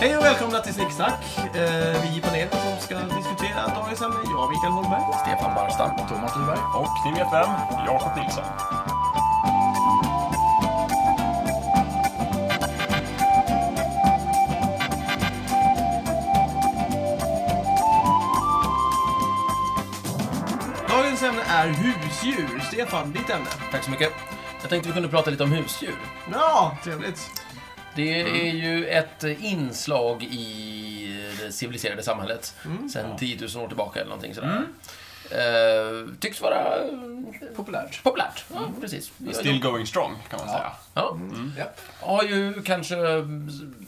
Hej och välkomna till Snicksnack. Eh, vi i panelen som ska diskutera dagens ämne, jag Mikael Holmberg. Stefan Barstam, Thomas Nyberg. Och ni vet vem? Jakob Nilsson. Dagens ämne är husdjur. Stefan, ditt ämne? Tack så mycket. Jag tänkte vi kunde prata lite om husdjur. Ja, trevligt. Det är ju ett inslag i det civiliserade samhället sen 10 000 år tillbaka eller någonting sådär. Eh, tycks vara eh, Populärt. populärt. Ja, precis. Still going strong, kan man säga. Ja. Mm. Ja. Har ju kanske...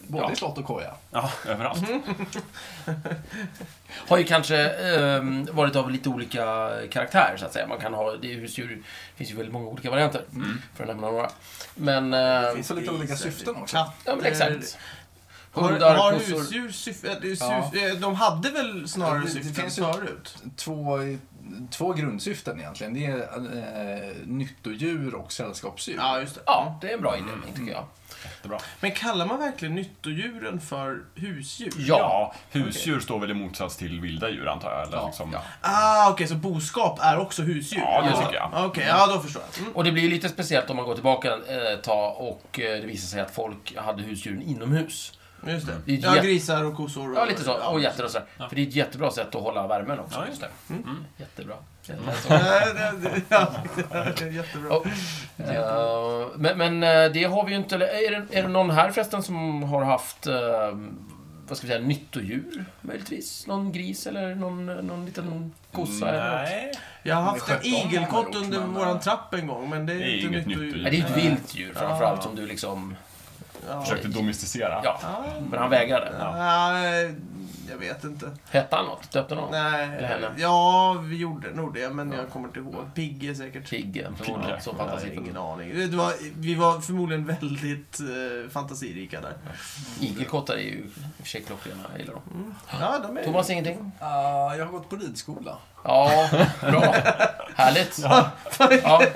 Både Ja, i slott och koja. Ja, överallt. Mhm. har ju kanske ehm, varit av lite olika karaktär, så att säga. Man kan ha... Det är husdjur. Det finns ju väldigt många olika varianter. För att nämna några. Men... eh, Finns det lite olika syften också? Ja, men exakt. Har, Hundar, har kossor. husdjur eh, syfte? Ja. De hade väl snarare Det- det syften finns ju- förut? Två, två grundsyften egentligen. Det är eh, nyttodjur och sällskapsdjur. Ja, just det. Ja, det är en bra inledning tycker jag. Jättebra. Men kallar man verkligen nyttodjuren för husdjur? Ja. Ja, husdjur står väl i motsats till vilda djur, antar jag. Eller Ja, liksom... ja. Ah, okej, så boskap är också husdjur? Ja, det Eller? tycker jag. Okej, ja då förstår jag. Mm. Och det blir ju lite speciellt om man går tillbaka ett tag och eh, det visar sig att folk hade husdjuren inomhus. Mm, Just det. Det är ett Ja, jätte- grisar och kossor. Och, Ja, lite så. Och ja. getter och sådär. För det är ett jättebra sätt att hålla värmen också. Ja, just det. Mm. Jättebra. Nej, det- det- ja, det är Jättebra. Och, eh, men men eh, det har vi ju inte... eller Är det, är det någon här förresten som har haft, eh, vad ska vi säga, nyttodjur? Möjligtvis? Någon gris eller någon, någon liten kossa? Eller något? Nej. Jag har Men haft en sjutton har man igelkott gjort, under men, våran eh, trapp en gång, men det är, det är inte inget nytt nytt Nej, det är ju ett vilt djur framförallt som du liksom... Ja. Försökte domesticera. Ja, men han vägrade. Ja. Nej, jag vet inte. Hette han något? Döpte han något? Eller Nej. henne. Ja, vi gjorde nog det, men jag kommer inte ihåg. Pigge säkert. Piggen, för Pigge. hon så Mm. Jag har fantasifull. ingen aning. Det var, vi var förmodligen väldigt eh, fantasirika där. Igelkottar är ju i och för sig klockrena, jag gillar dem. Ja, de är... Thomas, ingenting? Ah, jag har gått på ridskola. Ja, bra. Härligt. Ja,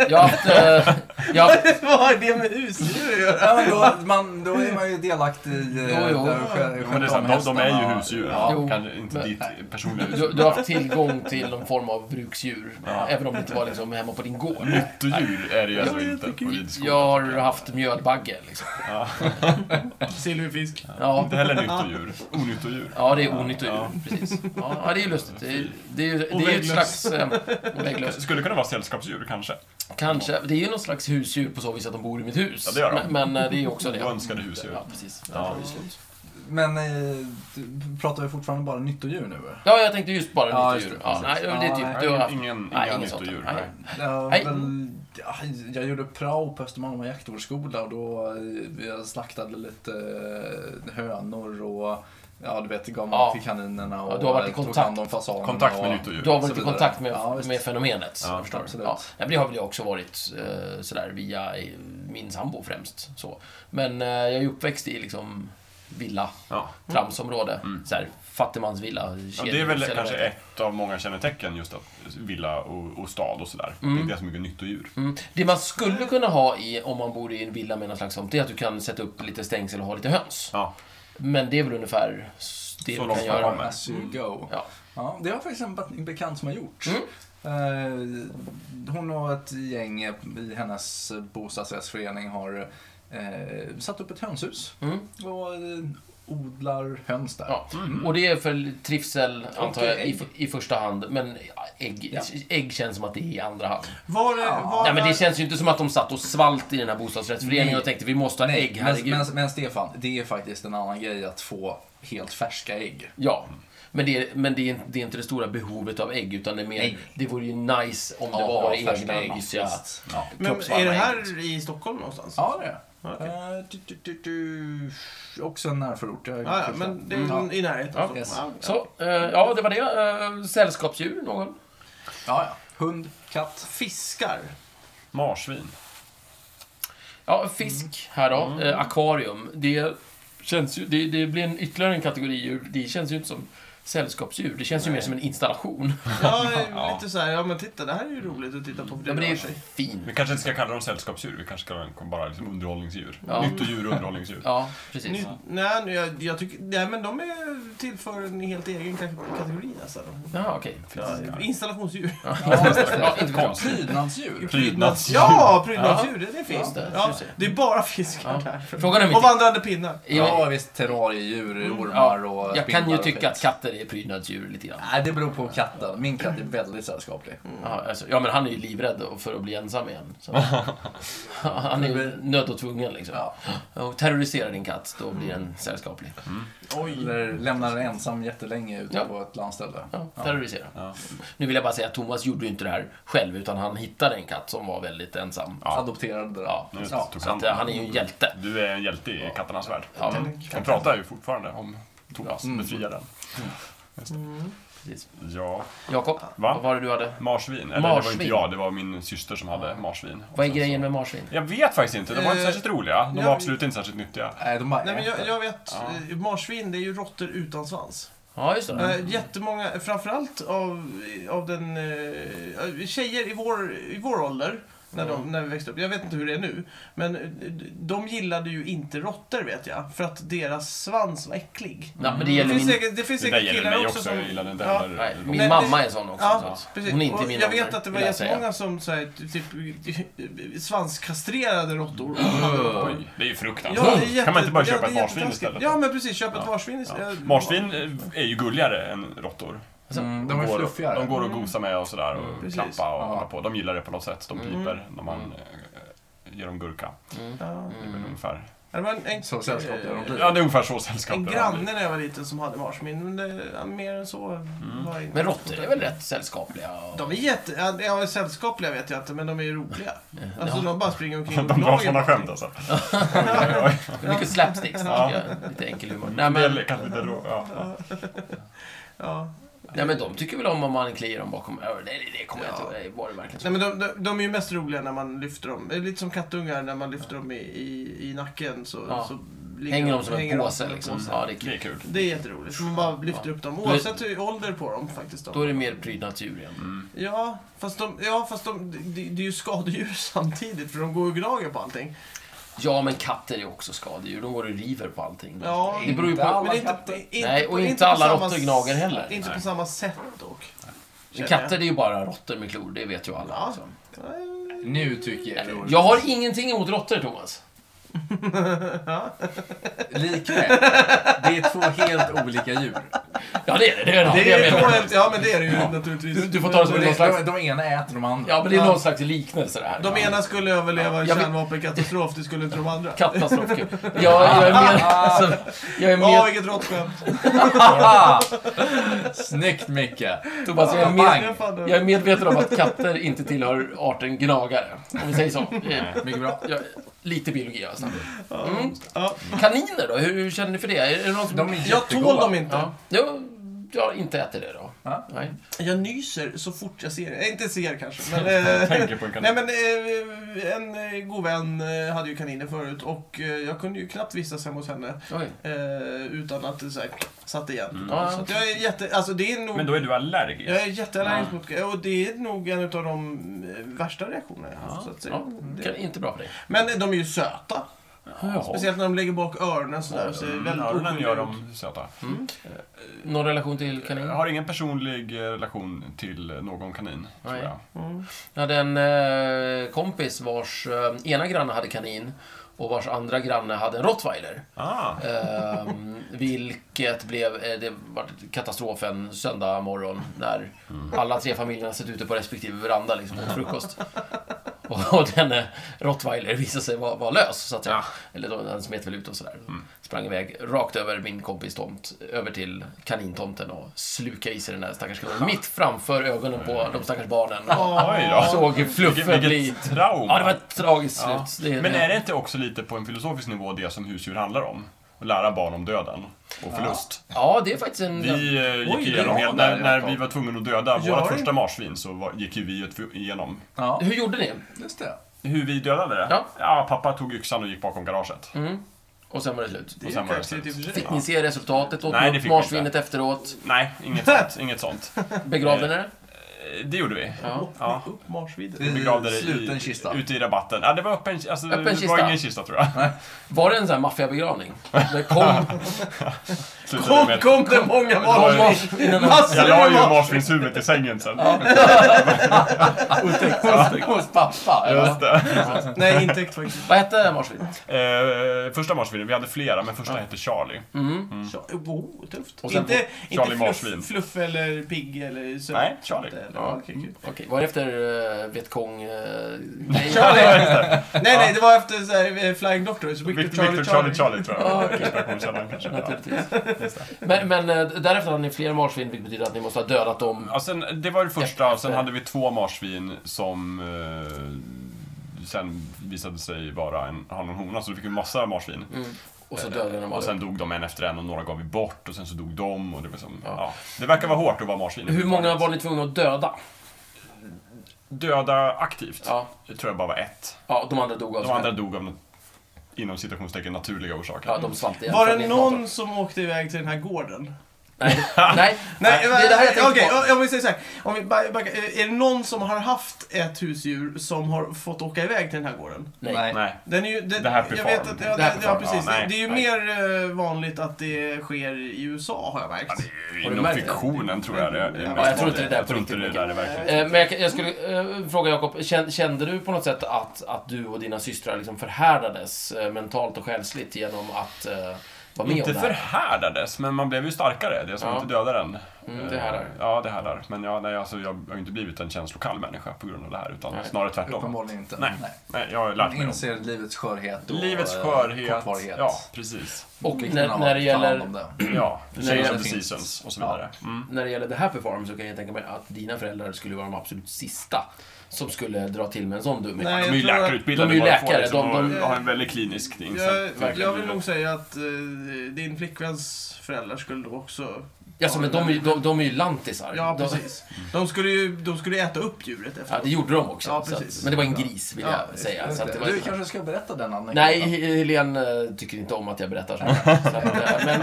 jag har haft... eh, jag har haft Vad har det med husdjur att göra? Ja, men då, man, då är man ju delaktig i... eh, Jo, jo. Jo, men det är så här, de, de är ju husdjur. Ja. Jo. Kan, inte Men- ditt personliga du, husdjur. du har haft tillgång till någon form av bruksdjur, även om det inte var liksom hemma på din gård. Nyttodjur är det ju alltså jag inte på tycker- ridskolan. Jag har haft mjödbagge, liksom. Silverfisk. Ja, Inte heller nyttodjur. Onyttodjur. ja det är onyttodjur, precis. Ja, ja, det är ju lustigt. Det är, det är, ju- det är ju ett Och vägglöss. slags... eh, och vägglöss. Skulle kunna vara sällskapsdjur, kanske. Kanske. Det är ju någon slags husdjur på så vis att de bor i mitt hus. Ja, det gör de. Men, men, eh, det är ju också det. Oönskade husdjur. Ja, precis. Ja. Men eh, du pratar vi fortfarande bara nyttodjur nu? eller? Ja, jag tänkte just bara Ja, nyttodjur. just det, Ja, nej, precis. det är Ja, typ, nej, du har haft... Ingen, nej, inga inget sånt. nyttodjur. Nej. Nej. Jag, Nej. väl, ja, jag gjorde prao på Östermalm och jaktvårdsskola och då eh, jag slaktade lite eh, hönor och ja, du vet, gav mat Ja. till kaninerna och eh, Ja, du har varit i tog kontakt- hand om fasanerna. Kontakt med och- nyttodjur. Du har varit Så i vidare. kontakt med, Ja, visst. med fenomenet. Ja, jag förstår. absolut. Ja, nej, men det har väl jag också varit eh, sådär via eh, min sambo främst. Så. Men eh, jag är ju uppväxt i liksom villa, Ja. tramsområde. Såhär, fattigmansvilla. Mm. Ja, det är väl kedjehus, eller vad kanske det heter. ett av många kännetecken, just att villa och, och stad och sådär. Det inte är så mycket nyttodjur. Mm. Det man skulle kunna ha i, om man bor i en villa med någon slags sånt, det är att du kan sätta upp lite stängsel och ha lite höns. Ja. Men det är väl ungefär s- det Så du långt kan man göra. kommer. As you go. Ja. Ja, det har faktiskt en be- bekant som har gjort. Mm. Eh, hon och ett gäng i hennes bostadsrättsförening har eh, satt upp ett hönshus Mm. och eh, odlar höns där. Ja. Och det är för trivsel, antar jag, i, ägg. i första hand. Men ägg, Ja. ägg känns som att det är i andra hand. Var, var, Nej, men det känns ju inte som att de satt och svalt i den här bostadsrättsföreningen Nej. och tänkte vi måste ha Nej, ägg, men, herregud. men, men Stefan, det är faktiskt en annan grej att få helt färska ägg. Ja. Men, det, är- men det, är, det är inte det stora behovet av ägg, utan det är mer, Nej. det vore ju nice om det Av- var av våra färska ägg, egna mysiga... visst. Ja, men är kroppsvarma det ägg. här i Stockholm någonstans? Ja, det är det. Okej. Eh, du, du, du, du. Också en närförort. Jag är Ja, ja, förstått. men det är Mm. Ja. i närheten. Ja, så. yes. Ja, ja. Så, eh, ja, det var det. Eh, sällskapsdjur, någon? Ja, ja. Hund, katt. Fiskar. Marsvin. Ja, fisk här då. Eh, akvarium. Det känns ju... Det, det blir en, ytterligare en kategori djur. Det känns ju inte som sällskapsdjur. Det känns ju mer som en installation. Ja, Ja. lite så här, ja men titta det här är ju roligt att titta på för det, Ja, men det är rör ju sig. fint. Vi kanske inte ska kalla dem sällskapsdjur, vi kanske kallar dem bara liksom underhållningsdjur. Ja. Nyttodjur och underhållningsdjur. Ja, precis. Nu, nej, nu, jag, jag tycker, nej, men de är till för en helt egen kate- kategori alltså. Jaha, okej. Ja, installationsdjur. Ja, inte bra. Prydnadsdjur. Prydnads... Ja, prydnadsdjur, det, det finns. det, Ja, just det. det är bara fiskar Ja. där. Frågan är om Och inte... vandrande pinnar. Ja, Mm, visst. Terrariedjur, ormar Ja, och jag kan ju spindlar och tycka skit. att katter är prydnadsdjur lite grann. Nej, det beror på katten. Min katt är väldigt sällskaplig. Ja, alltså, ja, men han är ju livrädd för att bli ensam igen. Så. Han är ju nödd och tvungen liksom. Ja. Och terrorisera din katt, då blir den sällskaplig. Oj. Eller lämnar den ensam jättelänge ute Ja. på ett landställe. Ja, terrorisera. Ja. Nu vill jag bara säga att Thomas gjorde ju inte det här själv, utan han hittade en katt som var väldigt ensam. Adopterade det. Ja, Nu Ja, tog så att, eh, han är ju en hjälte. Du är en hjälte i katternas värld. Ja, De pratar ju fortfarande om Thomas, Mm. befriaren. Just det. precis. Ja, Jakob, vad var det du hade? marsvin. Eller det var Marsvin. inte jag, det var min syster som hade marsvin. Och Vad är sen grejen så- med marsvin? Jag vet faktiskt inte, de var inte Eh, särskilt roliga. De ja, var absolut inte särskilt nyttiga. Nej, de bara Nej men jag, äter. jag vet, eh, marsvin det är ju råttor utan svans. Ja, just det. Eh, Jättemånga, framförallt av, av den, eh, tjejer i vår, i vår ålder, när, de, när vi växte upp, jag vet inte hur det är nu, men eh, de gillade ju inte råttor vet jag, för att deras svans var äcklig. Nej, men det Det gäller finns min... säkert, det finns Det där säkert gäller killar mig också också, som... jag gillar den Ja, där. Nej, min Men- mamma är sån också. Ja, så. precis. Hon är inte i och min jag ålder, vet att det var vill jag säga. jättemånga som så här, typ, svanskastrerade råttor. Ja, Oj, det är ju det är fruktansvärt. jätte- kan man inte bara ja, köpa det är ett marsvin jättetaskigt. istället? Ja, men precis. Köp ett Ja. marsvin Ja. istället. Marsvin eh, är ju gulligare än råttor. Mm, de är går, fluffigare. De går och gosar med och sådär och precis. klappa och Ja. hålla på. De gillar det på något sätt. De Mm. Mm. piper när man eh, ger dem gurka. Ja. Det är väl ungefär, Det var en, en, Så sällskapliga de blir. ja, det är ungefär så sällskap en det har blivit. granne när jag var liten som hade marsvin. Men det, ja, mer än så Mm. var jag inte. Men råttor är väl rätt sällskapliga? och- De är jätte... Ja, ja, sällskapliga vet jag inte, men de är ju roliga. Alltså, de bara springer omkring och De drar gnager sådana på skämt allting. alltså. Det är mycket slapsticks. Ja. tycker jag. Lite enkel humor. Nej Men, men, Eller kanske inte då. Ja. Ja. nej, men de tycker väl om om man kliar dem bakom öronen. Nej, det kommer jag Ja. inte ihåg. Nej, Var det verkligen så? Nej, men de, de, de är ju mest roliga när man lyfter dem. Det är Lite som kattungar, när man lyfter dem i, i, i nacken så, Ja. så ligger Hänger de som hänger en de påse som en liksom? påse. Ja, det är Det kul. är kul. Det är jätteroligt. Man bara lyfter Ja. upp dem, Då är- oavsett hur ålder på dem faktiskt. Då är Då. det mer prydnadsdjur igen. Mm. Ja, fast de, ja, fast de, det, det är ju skadedjur samtidigt, för de går och gnager på allting. Ja, men katter är också skadedjur. De går och river på allting. Ja, det beror ju inte på... alls. Men det är katter. inte, inte, Nej, och på- inte på alla samma råttor s- gnager heller. Inte på Nej. samma sätt dock. Men känner jag. katter är ju bara råttor med klor, det vet ju alla. Ja. liksom. Nu tycker jag det är roligt. Jag har ingenting emot råttor, Thomas. Likväl. Det är två helt olika djur. Ja, det är det. Det är det, Det jag är menar. dåligt, ja men det är det ju naturligtvis. Du- du får ta det som- De, är någon de, slags- de ena äter de andra. Ja, men det är någon Ja. slags liknelse det här. De ena skulle överleva en Jag vet- kärnvapenkatastrof, det skulle inte de andra. Katastrofkul. Jag, jag är mer... Alltså, jag är Ja, mer... vilket råttskämt. Ah! Snyggt Micke! Tobias, jag är Bang. mer... Jag är medveten om att katter inte tillhör arten gnagare. Om vi säger så. Eh, Mycket bra. Jag, lite biologi har jag snabbt. Mm. Ja. Kaniner då? Hur, hur känner ni för det? Är det någon som... De är Jag jättegoda. tål dem inte. Ja. Jag, jag har inte ätit det då. Ja. Nej. Jag nyser så fort jag ser eh, Inte ser kanske, men... eh, Tänker på en Nej kanin. men eh, en eh, god vän eh, hade ju kaniner förut och eh, jag kunde ju knappt vistas hemma hos henne Oj. eh, utan att det så här, satt igen. Ja, Så att jag är jätte, alltså det är nog, Men då är du allergisk. jag är jätteallergisk mot och det är nog en av de eh, värsta reaktionerna jag haft. Så att, säga. Ja, Mm. det, kan- inte bra för dig. Men eh, de är ju söta. Jaha. Speciellt när de lägger bak öronen sådär. Så är det väldigt Mm. Öronen oskyldiga gör ut. dem söta. Någon relation till kaniner? Jag har ingen personlig eh, relation till någon kanin, tror Nej. jag. Jag hade en eh, kompis vars eh, ena granne hade kanin och vars andra granne hade en rottweiler. Ah, Ehm, vilket blev, eh, det var katastrofen söndag morgon när alla tre familjerna satt ute på respektive veranda liksom åt frukost. Och, och denne rottweiler visade sig vara, vara lös, så att säga. Eller då, han smet väl ut och sådär. Mm. Sprang iväg rakt över min kompis tomt, över till kanintomten och slukade i sig den där stackars kaninen. Mitt framför ögonen på de stackars barnen. oj då. Och såg Vilket, fluffen bli... vilket trauma. Ja, det var ett tragiskt Ja. slut. Det, Men är det inte också lite på en filosofisk nivå det som husdjur handlar om? Att lära barn om döden och förlust. Ja, det är faktiskt en... Vi eh, gick Oj, igenom, bra helt, där, när, när Jakob. vi var tvungna att döda Gör vårt det. första marsvin så var, gick ju vi ett- igenom Ja, Hur gjorde ni? just det. hur vi dödade det. Ja. pappa tog yxan och gick bakom garaget. Och sen var det slut. Det är Och ju sen var det kaxigt i och för sig. Fick ni se resultatet? Åt Nej, Nej, det fick vi marsvinet efteråt? Nej, inget sånt. Inget sånt. Begravde ni det? Eh, Det gjorde vi. Ja. Ja. Mm. Upp marsvinet. Vi begravde det Sluten i, kista. ute i rabatten. Ja, det var öppen, alltså, Öppen det var kista. ingen kista tror jag. Var det en sån här maffiabegravning? Där kom, Slutade med Kom, att- kom det många kom marsvin! marsvinen och Massor Jag la med ju marsvin! marsvinshuvudet i sängen sen. Otäckt hos- hos pappa. Just Ja. det. Nej, intäkt faktiskt. Vad hette marsvinet? Eh, första marsvinet, vi hade flera, men första hette Charlie. Mm. Tja- Oh, tufft. Och sen inte Charlie inte Marsvin. fluff, fluff eller pigg eller så. Nej, Charlie. Eller, Mm. Ja. ja. okej, kul. Okej, var det efter uh, Vietkong? eh, nej. Charlie! nej, nej, det var efter så här, eh, Flying Doctors. Victor, Victor, Charlie, Victor Charlie. Charlie Charlie tror jag. Ja, okej. typ. Inspirationskällan kanske. Ja. Naturligtvis. Men, men eh, därefter hade ni fler marsvin, vilket betyder att ni måste ha dödat dem. Ja, sen, det var det första, och sen hade vi två marsvin som eh, sen visade sig vara en han och en hona, så vi fick en massa marsvin. Eh, Mm. Och så dödade ni dem Och alla. sen dog de en efter en och några gav vi bort och sen så dog de och det var som, Ja. ja. Det verkar vara hårt att vara marsvin. Hur många var ni tvungna att döda? Döda aktivt, Ja, det tror jag bara var ett. ja de andra dog alltså. av De andra dog av något, inom citationstecken, naturliga orsaker. Ja, de svalt igen. Var Så det ni- någon som åkte iväg till den här gården? Nej, nej, Nej, eh, det är det här jag tänkte okej, på. om vi säger så här. Om vi ba- backa, eh, är det någon som har haft ett husdjur som har fått åka iväg till den här gården? Nej. Nej. Den är ju... Den, The Happy jag Farm. vet att, ja, det, The Happy ja, Farm, precis. ja, nej, det är ju nej. mer eh, vanligt att det sker i USA, har jag märkt. Ja, det är ju Har du inom märkt det? fiktionen tror jag det är. Ja, jag tror inte det där Jag på tror inte det riktigt, där är verkligen. Eh, Men jag, jag skulle eh, fråga Jakob, kän- kände du på något sätt att, att du och dina systrar liksom förhärdades eh, mentalt och själsligt genom att eh, vara med Inte om det här? förhärdades, men man blev ju starkare. Det är som Ja. inte dödar en. Mm, det här är. Eh, Ja, det här är. Men ja, nej, alltså, jag har ju inte blivit en känslokall människa på grund av det här, utan Nej. snarare tvärtom. Uppenbarligen inte. Nej. Nej, jag har lärt mig om Inser livets skörhet och livets eh, skörhet. kortvarighet. Ja, precis. Och Vikten när, av när, att det ta hand gäller, om det. Ja, Nej, change det of the finns. seasons och så vidare. Mm. när det gäller The Happy Farm så kan jag tänka mig att dina föräldrar skulle vara de absolut sista som skulle dra till med en sån Nej, dumhet. De jag är ju tror att- läkarutbildade. de är ju bara får läkare, Liksom, de- de- och har en väldigt klinisk ting. så Jag, att verkligen jag vill blir nog det- säga att eh, din flickväns föräldrar skulle då också... Alltså, men de, är ju- de, de är ju lantisar. Ja, de, precis. De skulle ju de skulle äta upp djuret efter. ja, det gjorde de också. Ja, så att, precis. men det var en gris, vill jag Ja, säga. Så att det var Du kanske ska berätta den anekdoten? Nej, Helene eh, tycker inte om att jag berättar sånt här. så att, eh, men,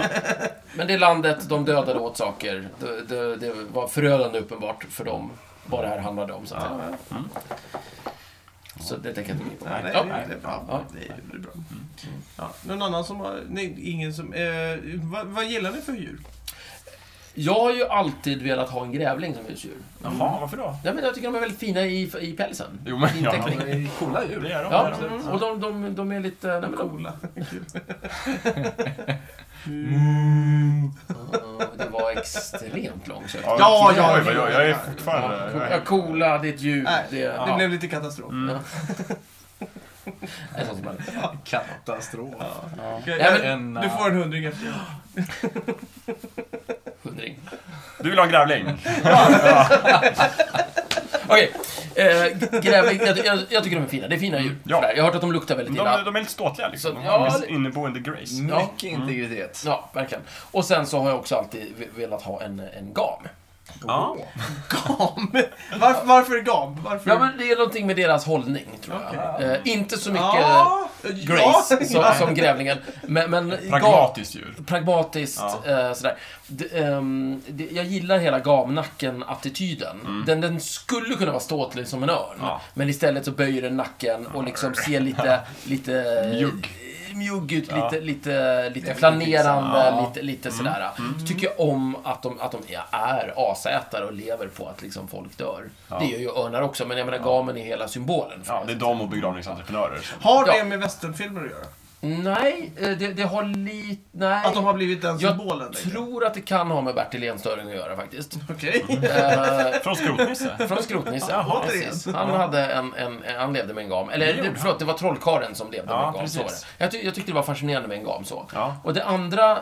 men det landet, de dödade åt saker. Det, det, det var förödande uppenbart för dem, vad det här handlade om. Så, att, säga. Ja, Mm. så det tänker jag inte gå in på. Nej, nej, Ja. det, det, ja, Ja. Mm. det blir bra. Ja, någon annan som har... Nej, ingen som... Eh, vad, vad gillar ni för djur? Jag har ju alltid velat ha en grävling som husdjur. Jaha, varför då? Ja, men jag tycker de är väldigt fina i, i pälsen. Jo, men Fin ja. teckning. Det är coola djur. Det är de. det Ja, Mm. är de. och de, de, de är lite... Nej, men de, Coola. Åh, det var extremt långsökt. Ja, Ja, oj, ja, oj, vad jag, jag är ja. fortfarande... jag Ja, är- coola, det är ett djur. Nej, Det Mm. är... det blev lite katastrof. Mm. Ja. En sån som bara- Katastrof. Okej, Ja, men- En, du eh, får en hundring efter det. Hundring. Du vill ha en grävling? Okej, eh, grävling. Jag, jag, jag tycker de är fina. Det är fina djur. Ja. Sådär. Jag har hört att de luktar väldigt De, illa. de är lite ståtliga liksom. Så- De har ja, en viss det- inneboende grace. Mycket integritet. Ja, verkligen. Och sen så har jag också alltid ve- velat ha en, en gam. Ja. Gam! Varför, varför gam? Varför? Ja, men det är någonting med deras hållning, tror jag. Mm. Okej. Eh, inte så mycket Ja, grace ja. som, som grävlingen, men, men gam- Pragmatiskt djur. pragmatiskt. Ja. Eh, sådär. D, ehm, det, jag gillar hela gamnacken-attityden. Den, den skulle kunna vara ståtlig som en örn, Mm. Ja. men istället så böjer den nacken och liksom ser lite... lite Mjugg. eh, mjugg ut, Ja. liksom, Mm. lite, lite, lite Definitivt. planerande, Ja. lite, lite sådär. Så tycker jag om att de, att de är asätare och lever på att liksom folk dör. Det gör ju örnar också, men jag menar gamen är hela symbolen. för Ja, det är de och begravningsentreprenörer. som- Har det Ja. med westernfilmer att göra? Nej, eh, det, det har lite... Nej. Att de har blivit den symbolen? Jag längre? tror att det kan ha med Bertil Enstöring att göra faktiskt. Okej. Eh, Från Skrotnisse. Från Skrotnisse. Jaha, precis. det Han, hade en, en, en, han levde med en gam. Eller det förlåt, det var trollkaren som levde Ja, med en gam. Så var det. precis. Jag, ty- jag tyckte det var fascinerande med en gam så. Ja. Och det andra, eh,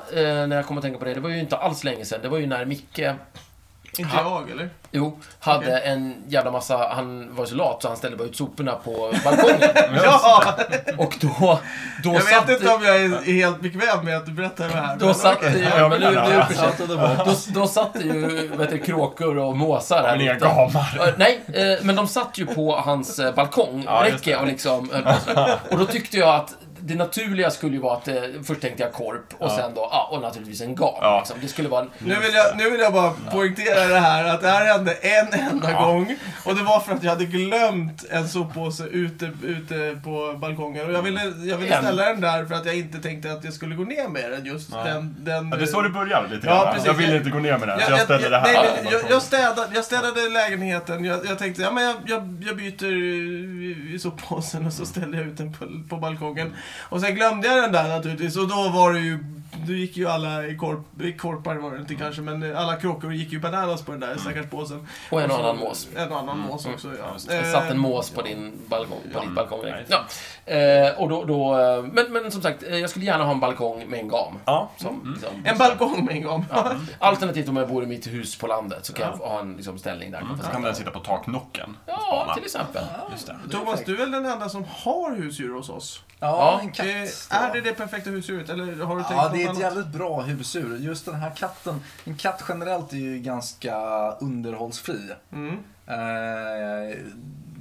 när jag kom att tänka på det, det var ju inte alls länge sedan. Det var ju när Micke Inte jag, eller? Jo, hade Okej. en jävla massa, han var så lat så han ställde bara ut soporna på balkongen. Ja! Och då, då Jag satt... vet inte om jag är helt bekväm med att du berättar det här. Då men- satt det ju, Ja, jag men nu, menar, nu ja. ursäkta. då, då satt det ju vet du, kråkor och måsar här Men inga ute. gamar. Eh, Nej, eh, men de satt ju på hans eh, balkong, Ja, just räcke det. och liksom höll på så. Och då tyckte jag att det naturliga skulle ju vara att eh, först tänkte jag korp och Ja. sen då, ah, och naturligtvis en gam. Ja. Liksom. Det skulle vara en, Nu vill, jag, nu vill jag bara poängtera det här, att det här hände en enda Ja. gång. Och det var för att jag hade glömt en soppåse ute, ute på balkongen. Och jag ville, jag ville En. ställa den där för att jag inte tänkte att jag skulle gå ner med den just Nej. den... den Ja, det är så det börjar lite Ja, grann. precis. Jag ville inte gå ner med det här, Jag- så jag jag- ställde det här. Nej, men jag, jag, städade, jag städade lägenheten. Jag, jag tänkte, ja men jag, jag, jag byter i- i soppåsen och så ställde jag ut den på, på balkongen. Och sen glömde jag den där naturligtvis och då var det ju, då gick ju alla i, korp, i korpar var det inte Mm. kanske, men alla kråkor gick ju bananas på den där stackars påsen. och en så- annan mås. Mm. En annan mås också, ja. just Det Eh, satt en mås på din balkong. På ditt balkong direkt. Nej. ja. eh, och då, då, eh, men, men som sagt, eh, jag skulle gärna ha en balkong med en gam. Mm. Ja, Som, liksom, En balkong med en gång. Ja. Alternativt om jag bor i mitt hus på landet så kan jag ha en liksom, ställning där. Mm. så kan den sitta på taknocken. Ja, till exempel. Just det. Thomas, du är väl den enda som har husdjur hos oss? Ja, Ja, en katt. Eh, Är det det perfekta husdjuret, eller har du tänkt Ja, något det är ett annat? jävligt bra husdjur. Just den här katten. En katt generellt är ju ganska underhållsfri. Mm. Eh,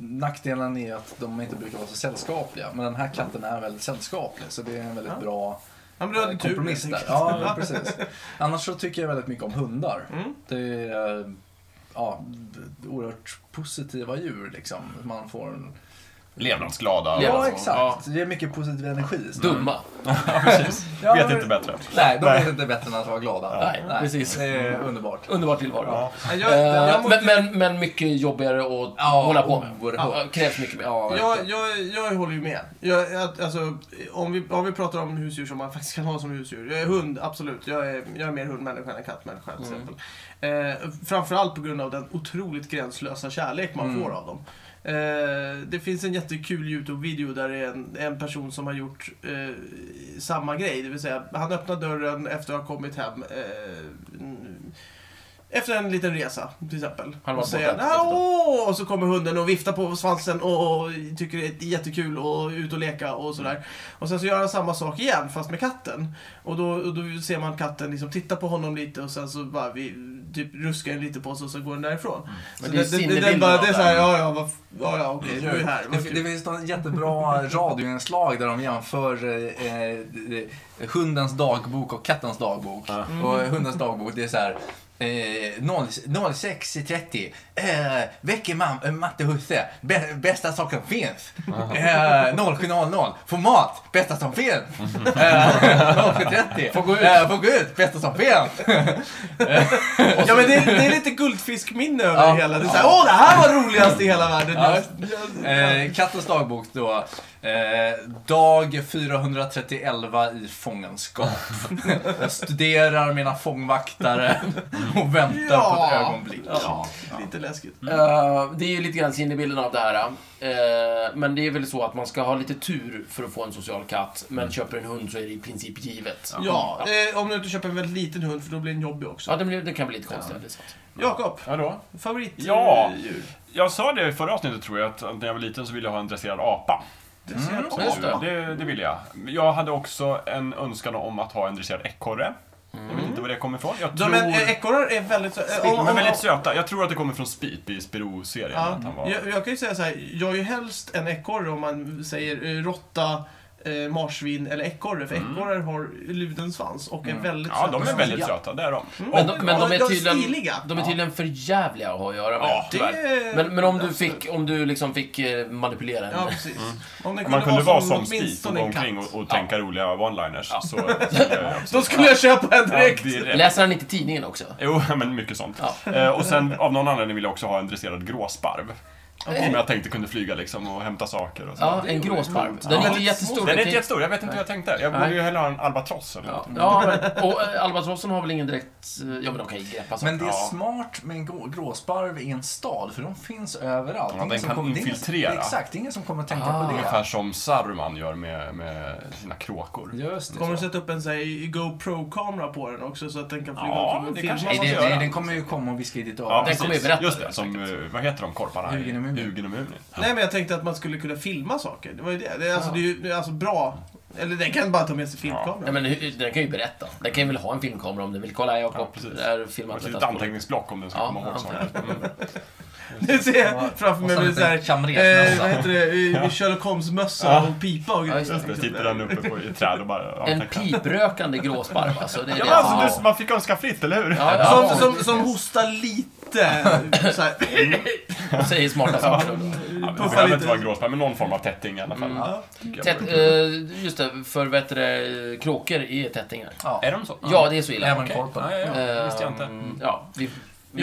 nackdelen är att de inte brukar vara så sällskapliga. Men den här katten är väldigt sällskaplig. Så det är en väldigt Ja. bra Ja, men du hade eh, tur. kompromiss där. Ja, precis. Annars så tycker jag väldigt mycket om hundar. Mm. Det är eh, ja, d- oerhört positiva djur liksom. Man får en... Levnadsglada. Levnads- Ja, och- exakt. Det är mycket positiv energi. Dumma. Ja, precis. Ja, Vet men- inte bättre. Nej, de Nej. vet inte bättre än att vara glada. Nej, precis. Det är underbart. Underbar tillvaro. Ja. Ja, Eh, Jag, jag, måste- men, men, men mycket jobbigare att Ja, hålla på med. oerhört. Ja, krävs mycket mer. Ja, jag, jag, jag håller ju med. Jag, jag, alltså, om, vi, om vi pratar om husdjur som man faktiskt kan ha som husdjur. Jag är hund, absolut. Jag är, jag är mer hundmänniska än kattmänniska till Mm. exempel. Eh, framförallt på grund av den otroligt gränslösa kärlek man Mm. får av dem. Eh, det finns en jättekul YouTube-video där det är en, en person som har gjort eh, samma grej. Det vill säga, han öppnar dörren efter att ha kommit hem. Eh, n- efter en liten resa, till exempel. Han var och säger borta ett litet tag. "Åh!" och så kommer hunden och viftar på svansen och, och tycker det är jättekul och ut och leka och Mm. sådär. Och sen så gör han samma sak igen, fast med katten. Och då, och då ser man katten liksom titta på honom lite och sen så bara vi, typ ruskar den lite på oss och så går den därifrån. Så Men det är det, det, det, det, sinnebilden bara, av det är såhär, den. ja ja, vad, f- ja, ja okej, du är här. Det, Vad fi- det kul. finns något jättebra radioinslag där de jämför eh, eh, hundens dagbok och kattens dagbok. Ja. Och hundens dagbok, det är så här. Eh, 0 06.30. Eh, väcker mam, eh, matte husse. Bä, bästa saker som finns. Eh, 07.00. Får mat. Bästa som finns. Eh, 07.30. Får gå ut. Eh, får gå ut. Bästa som finns. Ja men det, är- det är lite guldfiskminne över Ja. det hela. Det är såhär, åh det här var roligast i hela världen. Ja. Jag- jag- Eh, kattens dagbok då. Eh, dag 431 i fångenskap. Jag studerar mina fångvaktare och väntar på ett Ja. ögonblick. Ja, lite läskigt. Eh, det är ju lite grann sinnebilden av det här. eh, men det är väl så att man ska ha lite tur för att få en social katt. Men köper en hund så är det i princip givet. Mm. Ja, eh, om du inte köper en väldigt liten hund för då blir den jobbig Ja, också. det, blir, det kan bli lite konstigt. det är sant. Jakob, Vadå? favoritdjur? Ja. Jag sa det i förra avsnittet tror jag, att att när jag var liten så ville jag ha en dresserad apa. Det ser Mm. jag också. Just det. Det, det ville jag. Jag hade också en önskan om att ha en dresserad ekorre. Jag vet inte var det kommer ifrån. Jag tror... De är, eh, ekorrar är väldigt... eh, om- De är om- väldigt söta. Jag tror att det kommer från Speed i Spiro-serien. Ja, Att han var... jag, jag kan ju säga så här, jag är ju helst en ekorre om man säger eh, råtta, eh, marsvin eller ekorre. För ekorrar har luden svans och är väldigt Mm. ja, de är söta. väldigt söta. Det är de. Men, de- men de Ja, är tydligen, stiliga. de är tydligen för jävliga att ha att göra med. Ja, Det tyvärr. är... Men, men om du fick, om du liksom fick eh, manipulera en Ja, precis. Om det Om Mm. man kunde vara som Speed och åtminstone gå en katt. omkring och, och tänka roliga one-liners så skulle jag absolut- Då skulle jag köpa en Ja, direkt. direkt. Läser han inte tidningen också? Jo, men mycket sånt. Eh, och sen av någon anledning vill jag också ha en dresserad gråsparv. Som jag tänkte kunde flyga liksom och hämta saker och så. Ja, en gråsparv. Den är inte jättestor. Den är kan inte ju- jättestor, jag vet inte hur jag tänkte. Jag borde Nej. ju hellre ha en albatross eller Ja, något. ja men, och eh, albatrossen har väl ingen direkt... eh, Ja, men de kan ju greppa saker. Men det Ja. är smart med en grå- gråsparv i en stad, för de finns överallt. Ja, Ingen den som kan kommer- det är ingen- infiltrera. Exakt, det är ingen som kommer att tänka Ah. på Ungefär det. som Saruman gör med, med sina kråkor. Just Kommer det. du sätta upp en sån här GoPro-kamera på den också så att den kan flyga Ja, omkring och det filma? kanske Nej, oss? man det, ska nej, göra. den kommer ju komma och viska i ditt öra. Ja, Den kommer ju precis. berätta Just det, det, som, eh, vad heter de korparna? Hugin och Munin. Hugin och Munin. Nej, men jag tänkte att man skulle kunna filma saker. Det var ju det. det är alltså, det är ju det är alltså bra. Eller den kan bara ta med sig filmkameran. Nej, men hur- den kan ju berätta. Den kan ju väl ha en filmkamera om den vill. Kolla här Jakob, Ja, precis. det här Det var filmat. ett litet anteckningsblock om den ska Ja, komma ihåg saker. Mm. Det ser jag framför mig Och så med lite såhär... chamrermössa. Eh, vad heter det? I- i Sherlock Holmes-mössa Ja. och pipa och Ja, just grejer. det. Mm. Jag sitter där uppe på, i ett träd och bara... ja, En tack. piprökande gråsparv alltså. Det är Ja, det men som- alltså, du, man fick önska fritt, eller hur? Ja, ja. Som, som, som hostar lite. Så här. Och säger smarta saker. då. Ja, det Puffa behöver lite. inte vara gråsparv, men någon form av tätting i alla fall. Mm. Ja. tycker jag. Tätt, eh, just det, för vad heter det, kråkor är tättingar. Ja. Är de så? Ja, det är så illa. Även Okej. korpen. Ja, ja, ja. Eh, visste jag inte. Ja, vi, vi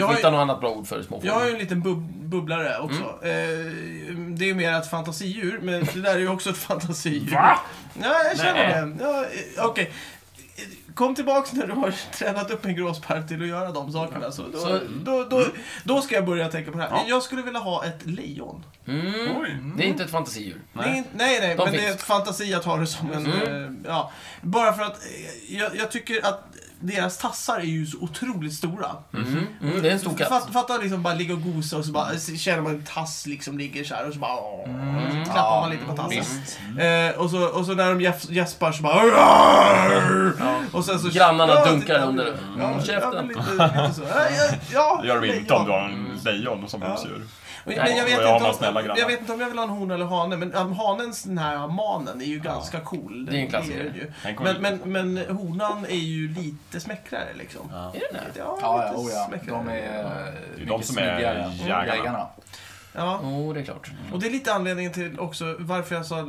Jag får har- hitta något annat bra ord för småfågel. Jag har ju en liten bub bubblare också. Eh, det är ju mer ett fantasidjur, men det där är ju också ett fantasidjur. Va? Ja, jag känner det. Ja, eh, Okej. Kom tillbaks när du har tränat upp en gråsparv till att göra de sakerna. Så då, Så- då, då, då ska jag börja tänka på det här. Jag skulle vilja ha ett lejon. Mm. Det är inte ett fantasidjur. Nej, nej, nej, De men det är finns. ett fantasi att ha det som en... Mm. eh, Ja, bara för att eh, jag, jag tycker att deras tassar är ju så otroligt stora. Mm. Mm. Det är en stor katt. Fatt, fatta liksom bara ligga och gosa och så bara så känner man en tass liksom ligger så här och så bara åh, Mm. så klappar Ja, man lite på tassen. visst. Mm. Eh, och, så, och så när de gäf- gäspar så bara "Arr!" och sen så, Grannarna dunkar titta, under. ja, Mm, Ja, käften. men lite, lite så. Ja, ja, ja, Det gör de inte ja. om du har en lejon som husdjur. Men men jag, Nej. vet Då har man inte snälla om, grannar. jag vet inte om jag vill ha en hon eller hane, men um, hanens den här manen är ju ganska cool. Det är en klassiker. den ju. Den kommer Men, men, men honan är ju lite smäckrare liksom. Ja, Är det det? Ja, ja, lite oh ja. smäckrare. De är de eh, som är smidigare än jägarna. Ja. Jo, det är klart. Och det är lite anledningen till också varför jag sa eh,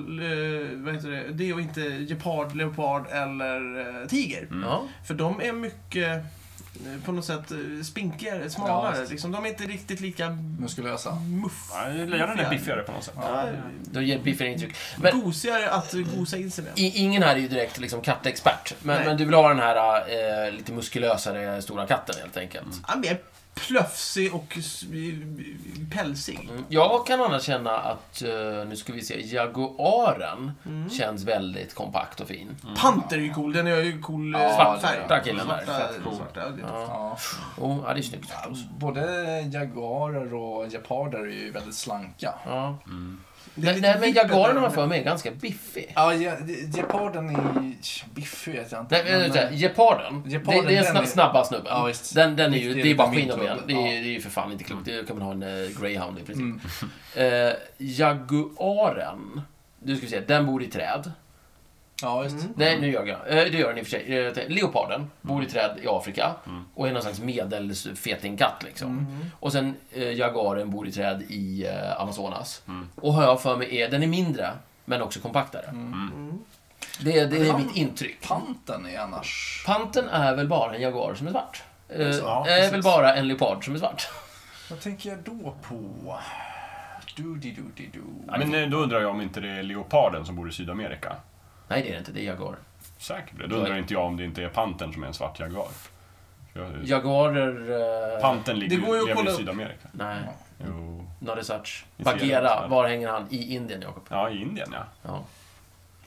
vad heter det, det och inte gepard, leopard eller eh, tiger. Ja. För de är mycket eh, på något sätt eh, spinkigare, smalare. visst. liksom. De är inte riktigt lika Muskulösa. muff. Nej, Lejonen är biffigare på något sätt. Ja, Då ger biffigare intryck. Men gosigare att gosa in sig med. i, ingen här är ju direkt liksom kattexpert. Men, Nej. men du vill ha den här eh, lite muskulösare stora katten helt enkelt. Ja, mer plöfsig och s- pälsig. Mm. Jag kan annars känna att, eh, nu ska vi se, Jaguaren Mm. känns väldigt kompakt och fin. Panter är ju cool. Den är ju cool eh, Ja, svart den är- färg. där killen där. Svarta, Fett cool. svarta, ja, det är Ja. Ja. Oh, ja, det är snyggt. Både jaguarer och geparder är ju väldigt slanka. Ja. Det är Nej, lite nej, men vippet jaguaren där. har jag för mig är ganska biffig. Ja, ge- geparden är biffig vet jag inte. Nej, men, men- vänta, geparden. Geparden, det, det är den snabba, är- snabba snubben. Ja, visst. den, den är ju, Riktigt det är bara min skinn och ben. klubb. Det är, Ja. det är ju för fan inte klokt. Det kan man ha en eh, greyhound i princip. Mm. Eh, jaguaren. Du ska vi se, den bor i träd. Ja, just. Mm. Nej, nu gör jag. Eh, det gör den i och för sig. Eh, te- Leoparden bor i träd i Afrika och är någon slags medelfetingkatt liksom. Mm. Och sen eh, jaguaren bor i träd i eh, Amazonas. Mm. Och har jag för mig är, den är mindre, men också kompaktare. Det, det är Mm. Pan- mitt intryck. Panten är annars... Panten är väl bara en jaguar som är svart? Eh, Ja, är precis. väl bara en leopard som är svart? Vad tänker jag då på? du di du di du Ja, Men eh, då undrar jag om inte det är leoparden som bor i Sydamerika. Nej, det är det inte. Det är jaguar. Säkert det. Då undrar inte jag om det inte är pantern som är en svart jaguar. För jag- Jaguarer... eh, Pantern ligger Det går ju ju att lever kolla i upp. Sydamerika. Nej, Jo. not as such. Vi ser Bagheera, det. var hänger han? I Indien, Jakob. Ja, i Indien ja. Ja.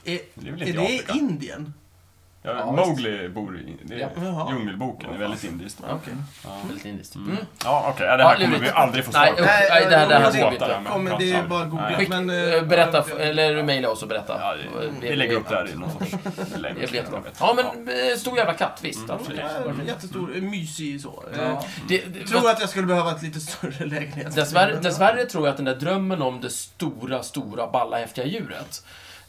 Är, Det är väl är inte i det Afrika. Indien? Ja, Ja, Mowgli bor i... Det är Ja. Jaha. Djungelboken. Det är väldigt indiskt. Ja. Ja, Okej. Väldigt indiskt. mm. Mm. ja okej. Ja, det här Ja, kommer vi lurigt. aldrig få svar Nej, på. usch. Nej, det här- det här jag- ska jag- vi jag- inte. kommer- Det är bara googla. Nej. Skick, Men, eh, eh, berätta, ja, eller mejla oss och berätta. Ja, vi, vi lägger upp det här i någon sorts... Det blir jättebra. Ja, men eh, stor jävla katt, Mm, visst. Absolut. ja, Jättestor, mysig så. Eh, Ja. Det, det, Jag tror att jag skulle behöva ett lite större lägenhet. Dessvärre, Men- dessvärre tror jag att den där drömmen om det stora, stora, balla, häftiga djuret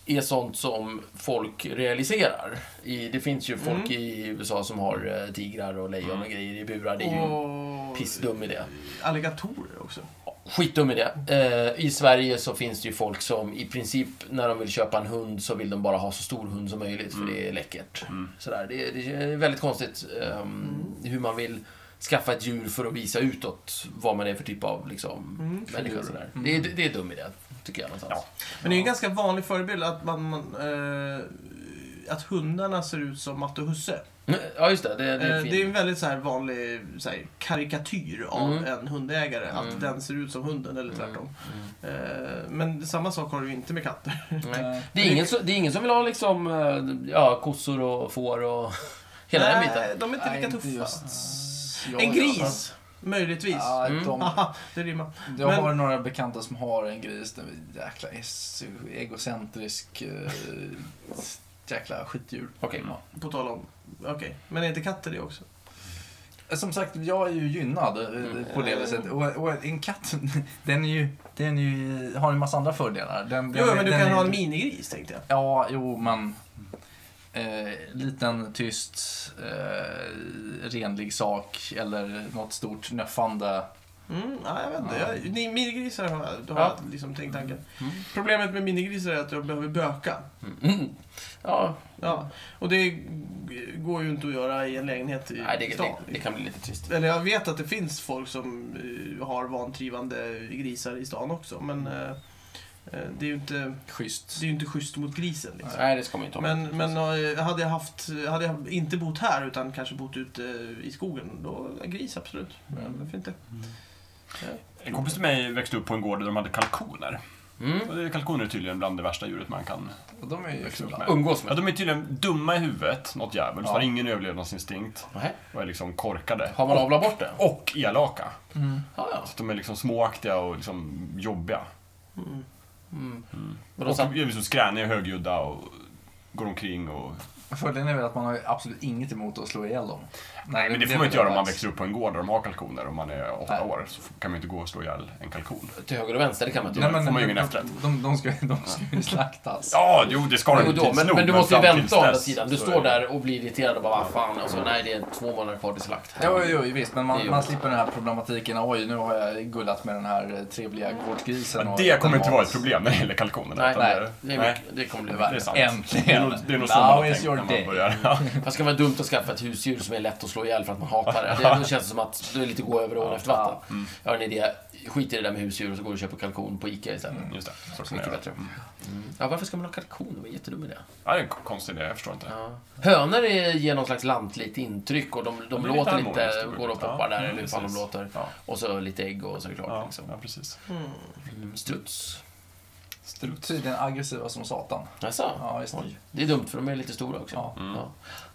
är sånt som folk realiserar. I, det finns ju Mm. folk i USA som har eh, tigrar och lejon och grejer i burar. Det är ju en Och pissdum idé. alligatorer också. Skitdum idé. Eh, I Sverige så finns det ju folk som i princip när de vill köpa en hund så vill de bara ha så stor hund som möjligt för det är läckert. Sådär. Det, är- det är väldigt konstigt ehm, Mm. hur man vill skaffa ett djur för att visa utåt vad man är för typ av liksom, Mm. människa. Sådär. Det, är, det är dum idé, tycker jag någonstans. Men det är ju en ganska vanlig förebild att, man, man, eh, att hundarna ser ut som Matte och Husse. Ja, Mm. ja just det. Det, det är Eh, fint. Det är en väldigt så här vanlig så här, karikatyr av Mm. en hundägare. Att Mm. den ser ut som hunden eller tvärtom. Eh, Men samma sak har du ju inte med katter. Mm. Nej. Eh, Det, är ingen, som- det är ingen som vill ha liksom, eh, ja, kossor och får och hela den biten. Nej, de är inte Nej, lika inte tuffa. just- jag- En gris, möjligtvis. Ja, Mm. de, Haha, det rimmar. jag Men- har några bekanta som har en gris. Den är jäkla es- egocentrisk eh, jäkla skitdjur. Okej. På tal om... Okej, men är inte katter det också? Eh, som sagt, jag är ju gynnad eh, Mm. på det viset. Och, och en katt, den, är ju, den är ju, har en massa andra fördelar. Den, Jo, den, men du den kan är- ha en minigris tänkte jag. Ja, jo, men... Eh, liten, tyst, eh, renlig sak eller något stort nöffande. Mm, ja, jag vet inte. Jag, ni- minigrisar har, jag- då har Ja. jag liksom tänkt tanken. Problemet med minigrisar är att de behöver böka. Mm. Ja, Ja. Och det går ju inte att göra i en lägenhet i nej, det, det, stan. Eh, det kan bli lite trist. Eller jag vet att det finns folk som eh, har vantrivande grisar i stan också, men Mm. eh, eh, det är ju inte, Schysst. det är ju inte schysst mot grisen. Liksom. Nej, det ska man ju inte ha. Men, men eh, hade, jag haft, hade jag inte bott här utan kanske bott ute i skogen, då gris absolut. Mm. Men varför inte? En kompis till mig växte upp på en gård där de hade kalkoner. Mm. Och det- kalkoner är tydligen bland det värsta djuret man kan Och de är ju växa upp kul. med. Umgås Ja, med. de är tydligen dumma i huvudet, något jävligt. Ja. Har ingen överlevnadsinstinkt Nej. och är liksom korkade. Har man avlat bort det? Och elaka. Mm. Ja, ja. Så att de är liksom småaktiga och liksom jobbiga. Mm. Men de Och satt, är liksom skräniga och högljudda och går omkring och... Fördelen är väl att man har ju absolut inget emot att slå ihjäl dem. Nej, men det får man inte göra om man växer upp på en gård där de har kalkoner. Om man är åtta Nej. år så kan man ju inte gå och slå ihjäl en kalkon. till höger och vänster, det kan man inte Nej, göra. men, Får man ju de, ingen efterrätt. de, de, ska, de ska ju slaktas. Ja, jo, det ska de Jo, ju då, men, tidsnog, men du måste ju fram tills vänta å andra dess sidan. Du så står är det- där och blir irriterad och bara vad fan. Och så, nej, det är två månader kvar till slakt. Jo, jo, jo, visst, men Det man, är man jobbigt. slipper den här problematiken. Oj, nu har jag gullat med den här eh, trevliga gårdsgrisen. Ja, och Mm. det kommer ätit inte vara mat. ett problem när det gäller kalkonerna. Nej, utan nej, Det, är nej, mycket, det kommer bli det är värre. sant. Äntligen. Det är nog, det är nog så Now man har is tänkt your när day. man börjar. Ja. Fast det kan vara dumt att skaffa ett husdjur som är lätt att slå ihjäl för att man hatar det. Det, det känns som att det är lite gå över ån efter vatten. Jag har en idé. Skit i det där med husdjur och så går du och köper kalkon på ICA istället. Just det, så kan man Mycket göra. bättre. Mm. Ja, varför ska man ha kalkon? Det var en jättedum idé. Ja, det är en konstig idé, jag förstår inte. Ja. Hönor är- ger någon slags lantligt intryck och de, de blir låter lite harmoniskt, lite, det blir går och bra. poppar Ja, där eller hur precis. fan de låter. Ja. Och så lite ägg och så är det klart. Ja, Liksom. ja precis. Struts. Strut. Tydligen aggressiva som satan. Jaså? Ja, just det. Oj. Det är dumt för de är lite stora också. Ja. Ja.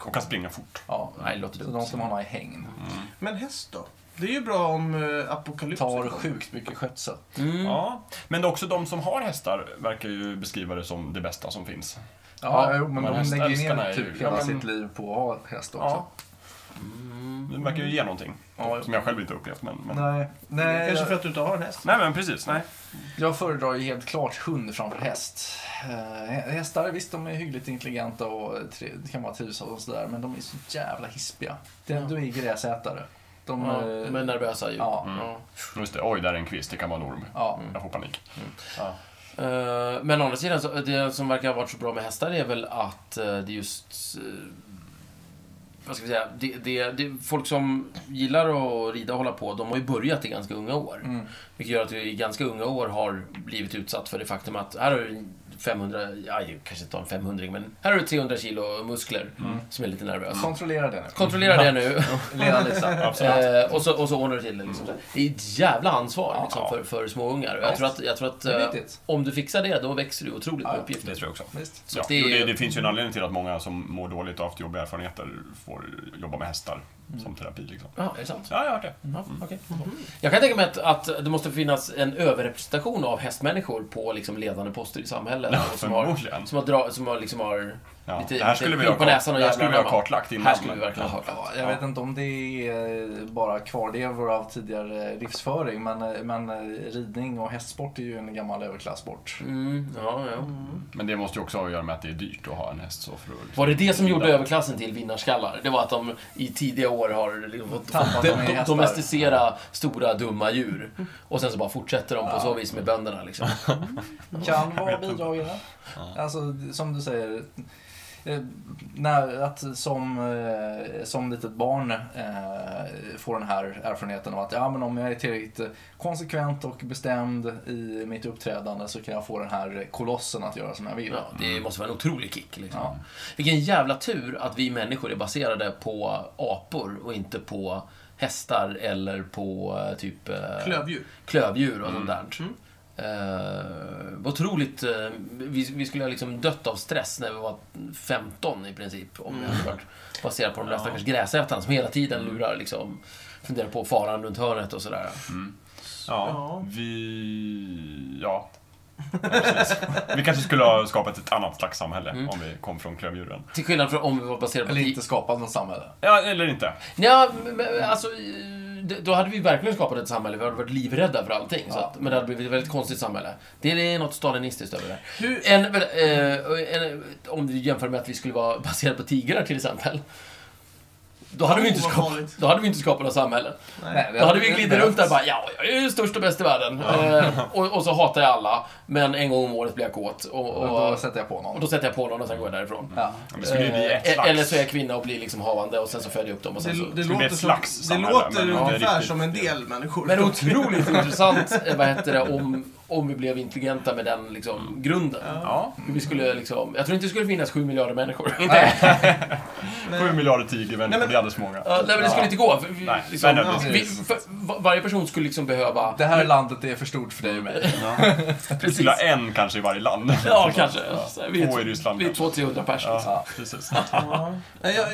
Och kan springa fort. Ja. Nej, det låter Så dumt. de ska man ha i hägn. Mm. Men häst då? Det är ju bra om eh, apokalypsen Tar kommer. sjukt mycket skötsel. Mm. Ja. Men också de som har hästar verkar ju beskriva det som det bästa som finns. Ja, Ja, jo, men men de häst- lägger ju hästarna ner är ju- typ hela ja, men- sitt liv på att ha häst också. Ja. Det verkar ju ge någonting. Ja, Som jag själv inte upplevt, men... men... Nej, nej Kanske för jag, att du inte har en häst. Nej, men precis. Nej. jag föredrar ju helt klart hund framför häst. Eh, hä- hästar, visst de är hyggligt intelligenta och tre, det kan vara trivsamma och sådär, men de är så jävla hispiga. De, Ja. de är gräsätare. De, Ja, eh, de är nervösa djur. Ja. Ja. Just det, oj, där är en kvist, det kan vara en orm. ja. Jag får panik. Eh, Men å andra sidan, så, det som verkar ha varit så bra med hästar är väl att eh, det just... eh, Vad ska vi säga? Det, det, det, folk som gillar att rida och hålla på, de har ju börjat i ganska unga år. Mm. Vilket gör att vi i ganska unga år har blivit utsatt för det faktum att här har du 500, ja, jag kanske inte har en 500 men här har du 300 kilo muskler Mm. som är lite nervös. Kontrollera det Kontrollera det nu. nu. Lena Lisa. Eh, och, så, och så ordnar du till det. Liksom. Mm. Det är ett jävla ansvar liksom, Ja. för, för småungar. Och Jag tror att, jag tror att Det är eh, viktigt. om du fixar det, då växer du otroligt med Ja. uppgifter. Det tror jag också. Visst. Ja, det det, är- det, det finns ju en anledning till att många som mår dåligt och haft jobbiga erfarenheter får jobba med hästar som terapi. Liksom. Ja, är det sant? Ja, jag har hört det. Ja, okej. Mm. Jag kan tänka mig att, att det måste finnas en överrepresentation av hästmänniskor på liksom, ledande poster i samhället. Ja, och som har, förmodligen. som har, dra, som har, liksom har Ja, lite, det här skulle lite vi ha på kart- näsan och det här jävlar skulle vi ha anamma. kartlagt innan, Här skulle vi men- verkligen ha Ja, kartlagt. jag vet inte om det är eh, bara kvarlevor av tidigare livsföring, men, eh, men eh, ridning och hästsport är ju en gammal överklassport. Mm, ja, ja. Men det måste ju också ha att göra med att det är dyrt att ha en häst. Så för att, liksom, Var det det som Mm. gjorde överklassen till vinnarskallar? Det var att de i tidiga år har liksom fått Tappat de, dem i de, hästar. domesticera stora dumma djur. Och sen så bara fortsätter de på så vis med bönderna liksom. Kan vara bidragande. Alltså, som du säger, eh, när, att som, eh, som litet barn eh, få den här erfarenheten av att ja, men om jag är tillräckligt eh, konsekvent och bestämd i mitt uppträdande så kan jag få den här kolossen att göra som jag vill. Ja, det måste vara en otrolig kick liksom. Ja. Vilken jävla tur att vi människor är baserade på apor och inte på hästar eller på eh, typ eh, Klövdjur. klövdjur och sånt Mm. där. Eh, otroligt, eh, vi, vi skulle ha liksom dött av stress när vi var 15 i princip. Om vi Mm. hade varit baserat på de där stackars gräsätarna som hela tiden lurar liksom. Funderar på faran runt hörnet och sådär. ja, Ja. Vi... Ja. Precis. Vi kanske skulle ha skapat ett annat slags samhälle Mm. om vi kom från klövdjuren. Till skillnad från om vi var baserade på... Eller inte skapat något samhälle. Ja, eller inte. Ja, men, alltså... eh, det- Då hade vi verkligen skapat ett samhälle. Vi hade varit livrädda för allting. Så att, men det hade blivit ett väldigt konstigt samhälle. Det är något stalinistiskt över det. Hur, En, väl, eh, en, om du jämför med att vi skulle vara baserade på tigrar till exempel. Då hade, vi inte Vad skapat, farligt. då hade vi inte skapat något samhälle. nej. Då hade vi glidit runt där och bara ja, jag är ju störst och bäst i världen. Eh, och, och så hatar jag alla, men en gång om året blir jag kåt. Och, Och då och, sätter jag på någon. och då sätter jag på någon och sen går jag därifrån. Ja. Men Det skulle ju bli ett Eh, slags. Eller så är jag kvinna och blir liksom havande och sen så föder jag upp dem och sen så... Det, det bli låter, ett som, slags det samhälle, låter men inte ungefär riktigt. som en del människor. Men otroligt intressant, eh, vad heter det, om, om vi blev intelligenta med den liksom, grunden. Ja. Hur Vi skulle liksom, jag tror inte det skulle finnas sju miljarder människor. Nej. 7 miljarder tigervänner, Nej, det men- är alldeles för många. Ja, nej, men det skulle inte gå. För vi, Nej, liksom, nej, nej, vi, precis. för, va- varje person skulle liksom behöva... Det här landet är för stort för dig och mig. Vi skulle ha en kanske i varje land. Ja, kanske. Så här, Vi Två i är, Ryssland vi är kanske. 200-300 pers. liksom. Ja, precis. Ja. Nej, Jag,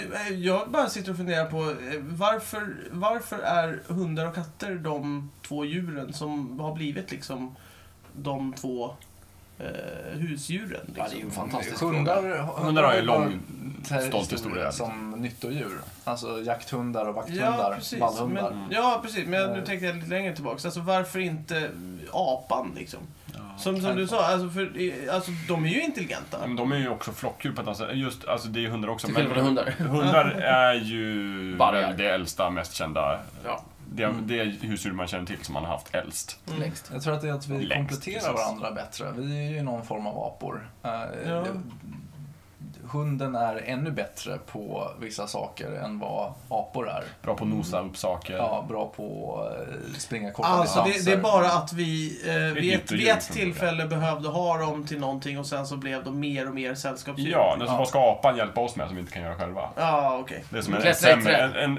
jag bara sitter och funderar på eh, varför, varför är hundar och katter de två djuren som har blivit liksom de två eh, husdjuren? Ja, det är ju Liksom? en fantastisk Hundar, fråga. Hundar har ju lång, så här stolt historia. Som liksom. nyttodjur. Alltså jakthundar och Ja, vakthundar. precis. vallhundar. Men, Mm. ja, precis. Men nu tänkte jag lite längre tillbaka. Alltså, varför inte apan liksom? Som, som du sa, alltså, för, eh, alltså, de är ju intelligenta. Men de är ju också flockdjur på ett annat sätt. Just, alltså det är hundar också. Till skillnad från hundar. hundar är ju Vargar. väl det äldsta, mest kända. Ja, Det, det är husdjur man känner till som man har haft äldst. Mm. längst. Jag tror att det är att vi Längst, kompletterar precis. varandra bättre. Vi är ju någon form av apor. Eh, Ja. Hunden är ännu bättre på vissa saker än vad apor är. Bra på att nosa upp saker. Ja, bra på att springa korta Alltså det, liksom. distanser. det är bara att vi eh, vid, ett, nytt och vid ett djur. tillfälle behövde ha dem till någonting och sen så blev de mer och mer sällskapsdjur. Ja, alltså, Ja. vad ska apan hjälpa oss med som vi inte kan göra själva? Ja, okej. Det är som en, en, Klättra i sämre, träd. en, en,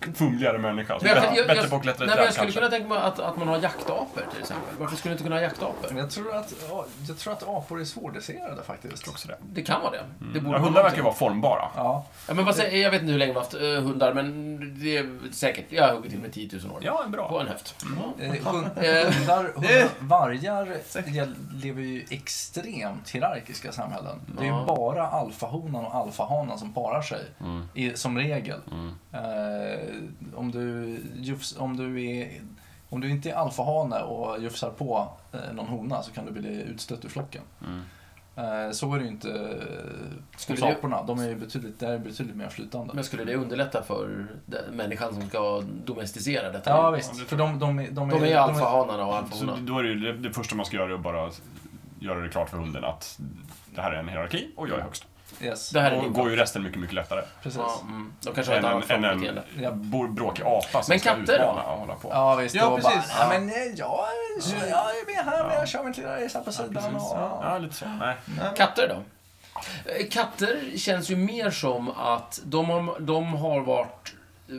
en fumligare människa. Alltså, Men bättre- jag- jag- bättre på att klättra i nej, men träd jag skulle kanske. kunna tänka mig att, att man har jaktapor till exempel. Varför skulle du inte kunna ha jaktapor? Men jag tror att, ja, jag tror att apor är svårdresserade faktiskt. Också det. Det kan vara det. det Mm. Ja, borde hundar vara verkar ju det. vara formbara. Ja, Ja, men vad säger, jag vet inte hur länge vi har haft eh, hundar, men det är säkert, jag har huggit till med 10 000 år. Ja, På bra. en höft. eh, hund, Eh, hundar, hundar, vargar gel- lever ju i extremt hierarkiska samhällen. Det är ju Ja. bara alfahonan och alfahanen som parar sig, Mm. i, som regel. Mm. Eh, om, du, jufs, om, du är, om du inte är alfahane och jufsar på eh, någon hona så kan du bli utstött ur flocken. Mm. Eh, så är det ju inte eh, Skulle hos det- aporna. De är ju betydligt, där är betydligt mer flytande. Men skulle det underlätta för den människan som ska domesticera detta? Ja Ja, visst, det för de, de, är- de, De är ju alfahanarna och Så alfahonan. då är det, ju, det, det första man ska göra är att bara göra det klart för hunden att det här är en hierarki och jag är högst. Yes, Det här är Då din går ju resten mycket, mycket lättare. precis. Ja, mm. De kanske har ett Än en, annat än en frontbeteende. Ja. bor- bråkig apa som Men ska katter då? utmana och hålla på. Ja visst, Ja, det var precis. bara, ja, men eh, jag, jag, jag är med här men jag kör min lilla resa på sidan Precis. och... Ja, lite så. Nej. Katter då? Eh, Katter känns ju mer som att de har, de har varit eh,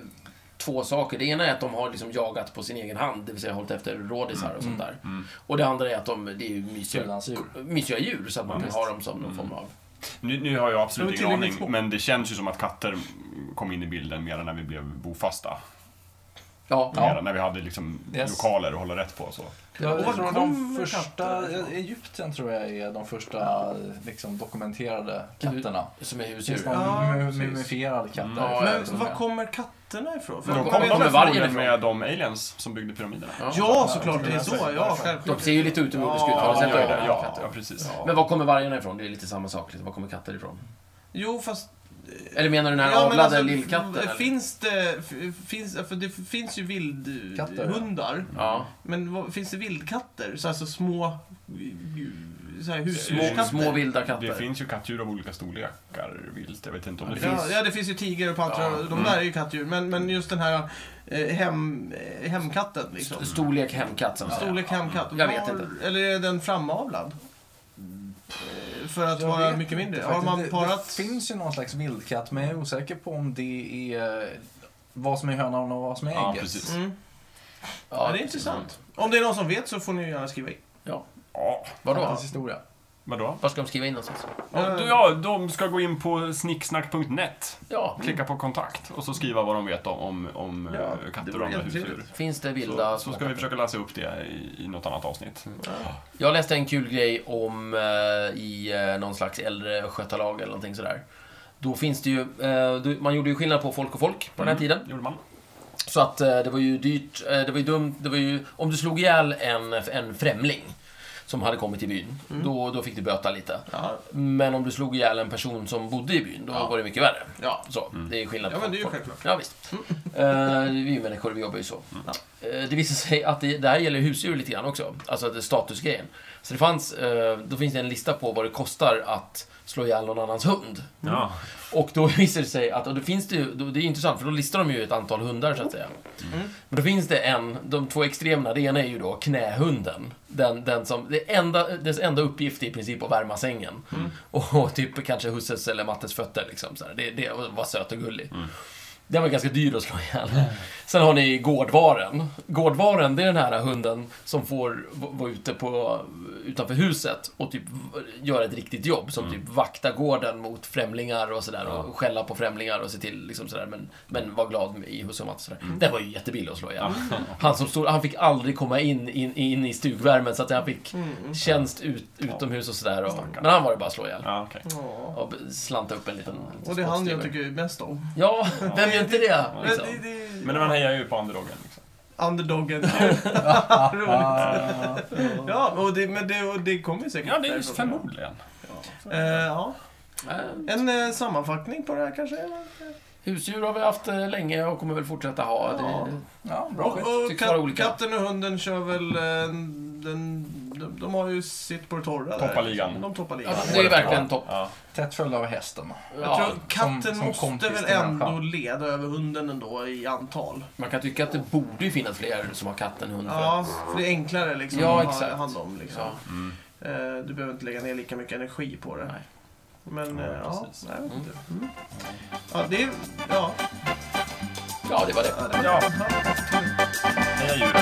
två saker. Det ena är att de har liksom jagat på sin egen hand, det vill säga hållit efter rådisar och sånt där. Och det andra är att de, det är ju mysiga, Frilansdjur. mysiga djur, så att man vill ha dem som någon form av... Nu, nu har jag absolut Det var ingen tillräckligt aning, små. men det känns ju som att katter kom in i bilden mer när vi blev bofasta. Ja, Mer när vi hade liksom Yes. lokaler att hålla rätt på. Så. Jag, Och var tror de kommer första, eh, katter ifrån? Egypten tror jag är de första liksom, dokumenterade katterna. som är Det finns husdjur. någon Ja, mu- precis. mumifierad katt där. Ja, också, jag Men vet som var är- kommer katterna ifrån? För Men de jag kom vet de inte- med vargen vargen med de aliens som byggde pyramiderna. Ja, såklart. Det är så. Ja, självklart. De ser ju lite ut ur moderskt Ja, uttalande. det gör Ja, det. ja, ja precis. Men var kommer vargarna ifrån? Det är lite samma sak. Liksom. Var kommer katter ifrån? Jo, fast... Eller menar du den här Ja, men avlade alltså, lillkatten? eller? Finns det... f- Finns, för det finns ju Katter, ja. vildhundar. Ja. Men vad, finns det vildkatter? Så alltså små... Så här, Små, husdjurskatter? små vilda katter. Det finns ju kattdjur av olika storlekar vilt. Jag vet inte om det Ja, finns. Ja, ja, det finns ju tiger och pantrar. Ja. De där är ju kattdjur. Men, men just den här eh, hem, eh, hemkatten, liksom. Storlek hemkatt, som säger. Storlek hemkatt. Jag vet Var- inte. Eller är den framavlad? Eh, För att Jag vara vet mycket inte mindre. Har faktiskt. man Det- parat... Det finns ju någon slags vildkatt, men jag är osäker på om det är vad som är hönan och vad som är ägget. Ja, precis. Mm. Ja, det är intressant. Om det är någon som vet så får ni ju gärna skriva in. Ja. Ja. Vadå? Fantastisk historia. Vadå? Vad ska de skriva in någonstans? Ja, du- ja, de ska gå in på snicksnack.net, Ja, klicka på kontakt och så skriva vad de vet om, om, om eh, Ja, det katter vore och andra jättetrevligt. husdjur. finns det vilda Så, så små ska vi katter? försöka läsa upp det i, i något annat avsnitt. Jag läste en kul grej om eh, i eh, någon slags äldre östgötalag eller någonting sådär. Då finns det ju, eh, då- man gjorde ju skillnad på folk och folk på den Mm. här tiden. Gjorde man? Så att eh, det var ju dyrt, eh, det var ju dumt, det var ju, om du slog ihjäl en, en främling som hade kommit till byn, då, då fick du böta lite. Ja. Men om du slog ihjäl en person som bodde i byn, då Ja. var det mycket värre. Ja. Så, det är skillnad Ja, men det är ju folk. självklart. Ja, visst. Eh, vi är ju människor, vi jobbar ju så. Eh, det visar sig att det, det här gäller husdjur lite grann också, alltså det är statusgrejen. Så det fanns, eh, då finns det en lista på vad det kostar att slå ihjäl någon annans hund. Ja. Och då visar det sig att, och då finns det ju, då, det är intressant för då listar de ju ett antal hundar så att säga. Men då finns det en, de två extremerna, det ena är ju då knähunden. Den, den som, det enda, dess enda uppgift är i princip att värma sängen. Och, och typ kanske husses eller mattes fötter liksom. Så här. Det, det var söt och gullig. Den var ganska dyr att slå ihjäl. Sen har ni gårdvaren. Gårdvaren, det är den här hunden som får v- vara ute på, utanför huset och typ v- göra ett riktigt jobb. Som typ vakta gården mot främlingar och sådär. Och skälla på främlingar och se till liksom sådär. Men, men var glad med- i hus och mat och sådär. Den var ju jättebillig att slå ihjäl. Han som stod, han fick aldrig komma in, in, in i stugvärmen så att han fick Mm, tjänst ut, utomhus och sådär. Och, men han var det bara att slå ihjäl. Ja, okej. Ja. Och b- slanta upp en liten Och det är han jag spottstyver. tycker mest om. Ja, vem gör inte det? Men Liksom? det, det, Men man hejar ju på underdogen. Liksom. Underdogen. Roligt. ja, och det, men det, och det kommer ju säkert Ja, det är ju därifrån. förmodligen. Eh, ja. Eh, En eh, sammanfattning på det här kanske? eller? Husdjur har vi haft eh, länge och kommer väl fortsätta ha. Ja. Det, Ja, bra Och, skit. och Tycks vara kat, olika. katten och hunden kör väl... eh, Den, de, de har ju sitt på det torra. där. Toppar ligan. De toppar ligan. ja, det är verkligen topp. Ja. Tätt följd av hästen. Jag Ja, tror katten som- som måste kompis väl till ändå människan. leda över hunden ändå i antal. man kan tycka att det borde ju finnas fler som har katt än hund. för att- Ja, för det är enklare liksom Ja, att ha exakt. hand om. Liksom. Ja. Eh, Du behöver inte lägga ner lika mycket energi på det. Nej. Men eh, ja, precis. jag vet inte. Mm. Ja, det är... Ja. ja, det var det. Ja. ja. Heja djuren.